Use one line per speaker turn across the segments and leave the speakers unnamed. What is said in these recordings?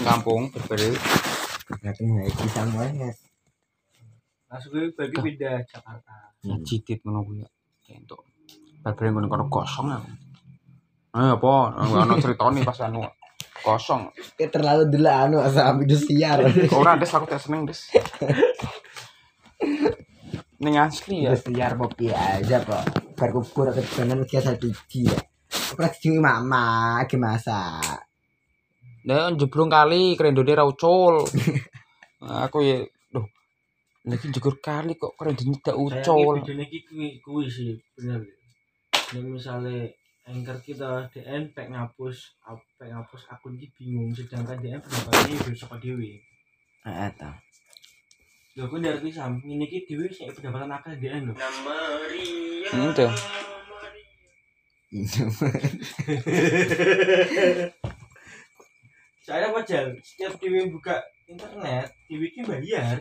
kampung terbaru
Natin na ikita mo nga.
Masuk gue berarti pindah Jakarta.
ya cidit menunggu ya entuk barbareng ngono kono kosong aku eh apa ana critane pas anu kosong
Kaya Ya, terlalu anu, dila ano asabi do siyar.
ora des aku tak seneng des ning asli ya
Do siyar po piya aja po. Karkupura ka tanan kaya sa tiji ya. Kapag si mama kimasa.
nek njeblung kali krendone ra ucul aku ya duh lagi jegur kali kok krendone tidak ucul
Jadi lagi kui kui sih bener. Yang misalnya anchor kita DN pek ngapus, ap- pek ngapus akun ini bingung. Sedangkan DN pendapatnya itu soko dewi.
Ato.
Lho aku dari kui sam ini ki dewi sih pendapatan akal DN loh. iya.
Hmm, tuh.
Saya wajar setiap dewi buka internet dewi ki bayar.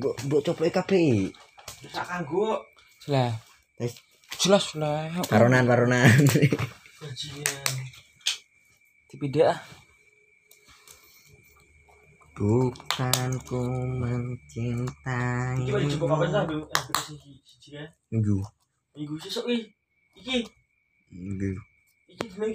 Bo bo coplay kape.
Terus akan gue
lah
Wis.
jelas lah
Karonan karonan.
gajian.
tidak ah
Bukan ku
Iki wajib buka kapan lah
mencintai.
bu? Aku sih sih ya.
Ngu.
Minggu sesuk ih. Iki
Ngu.
iki jeneng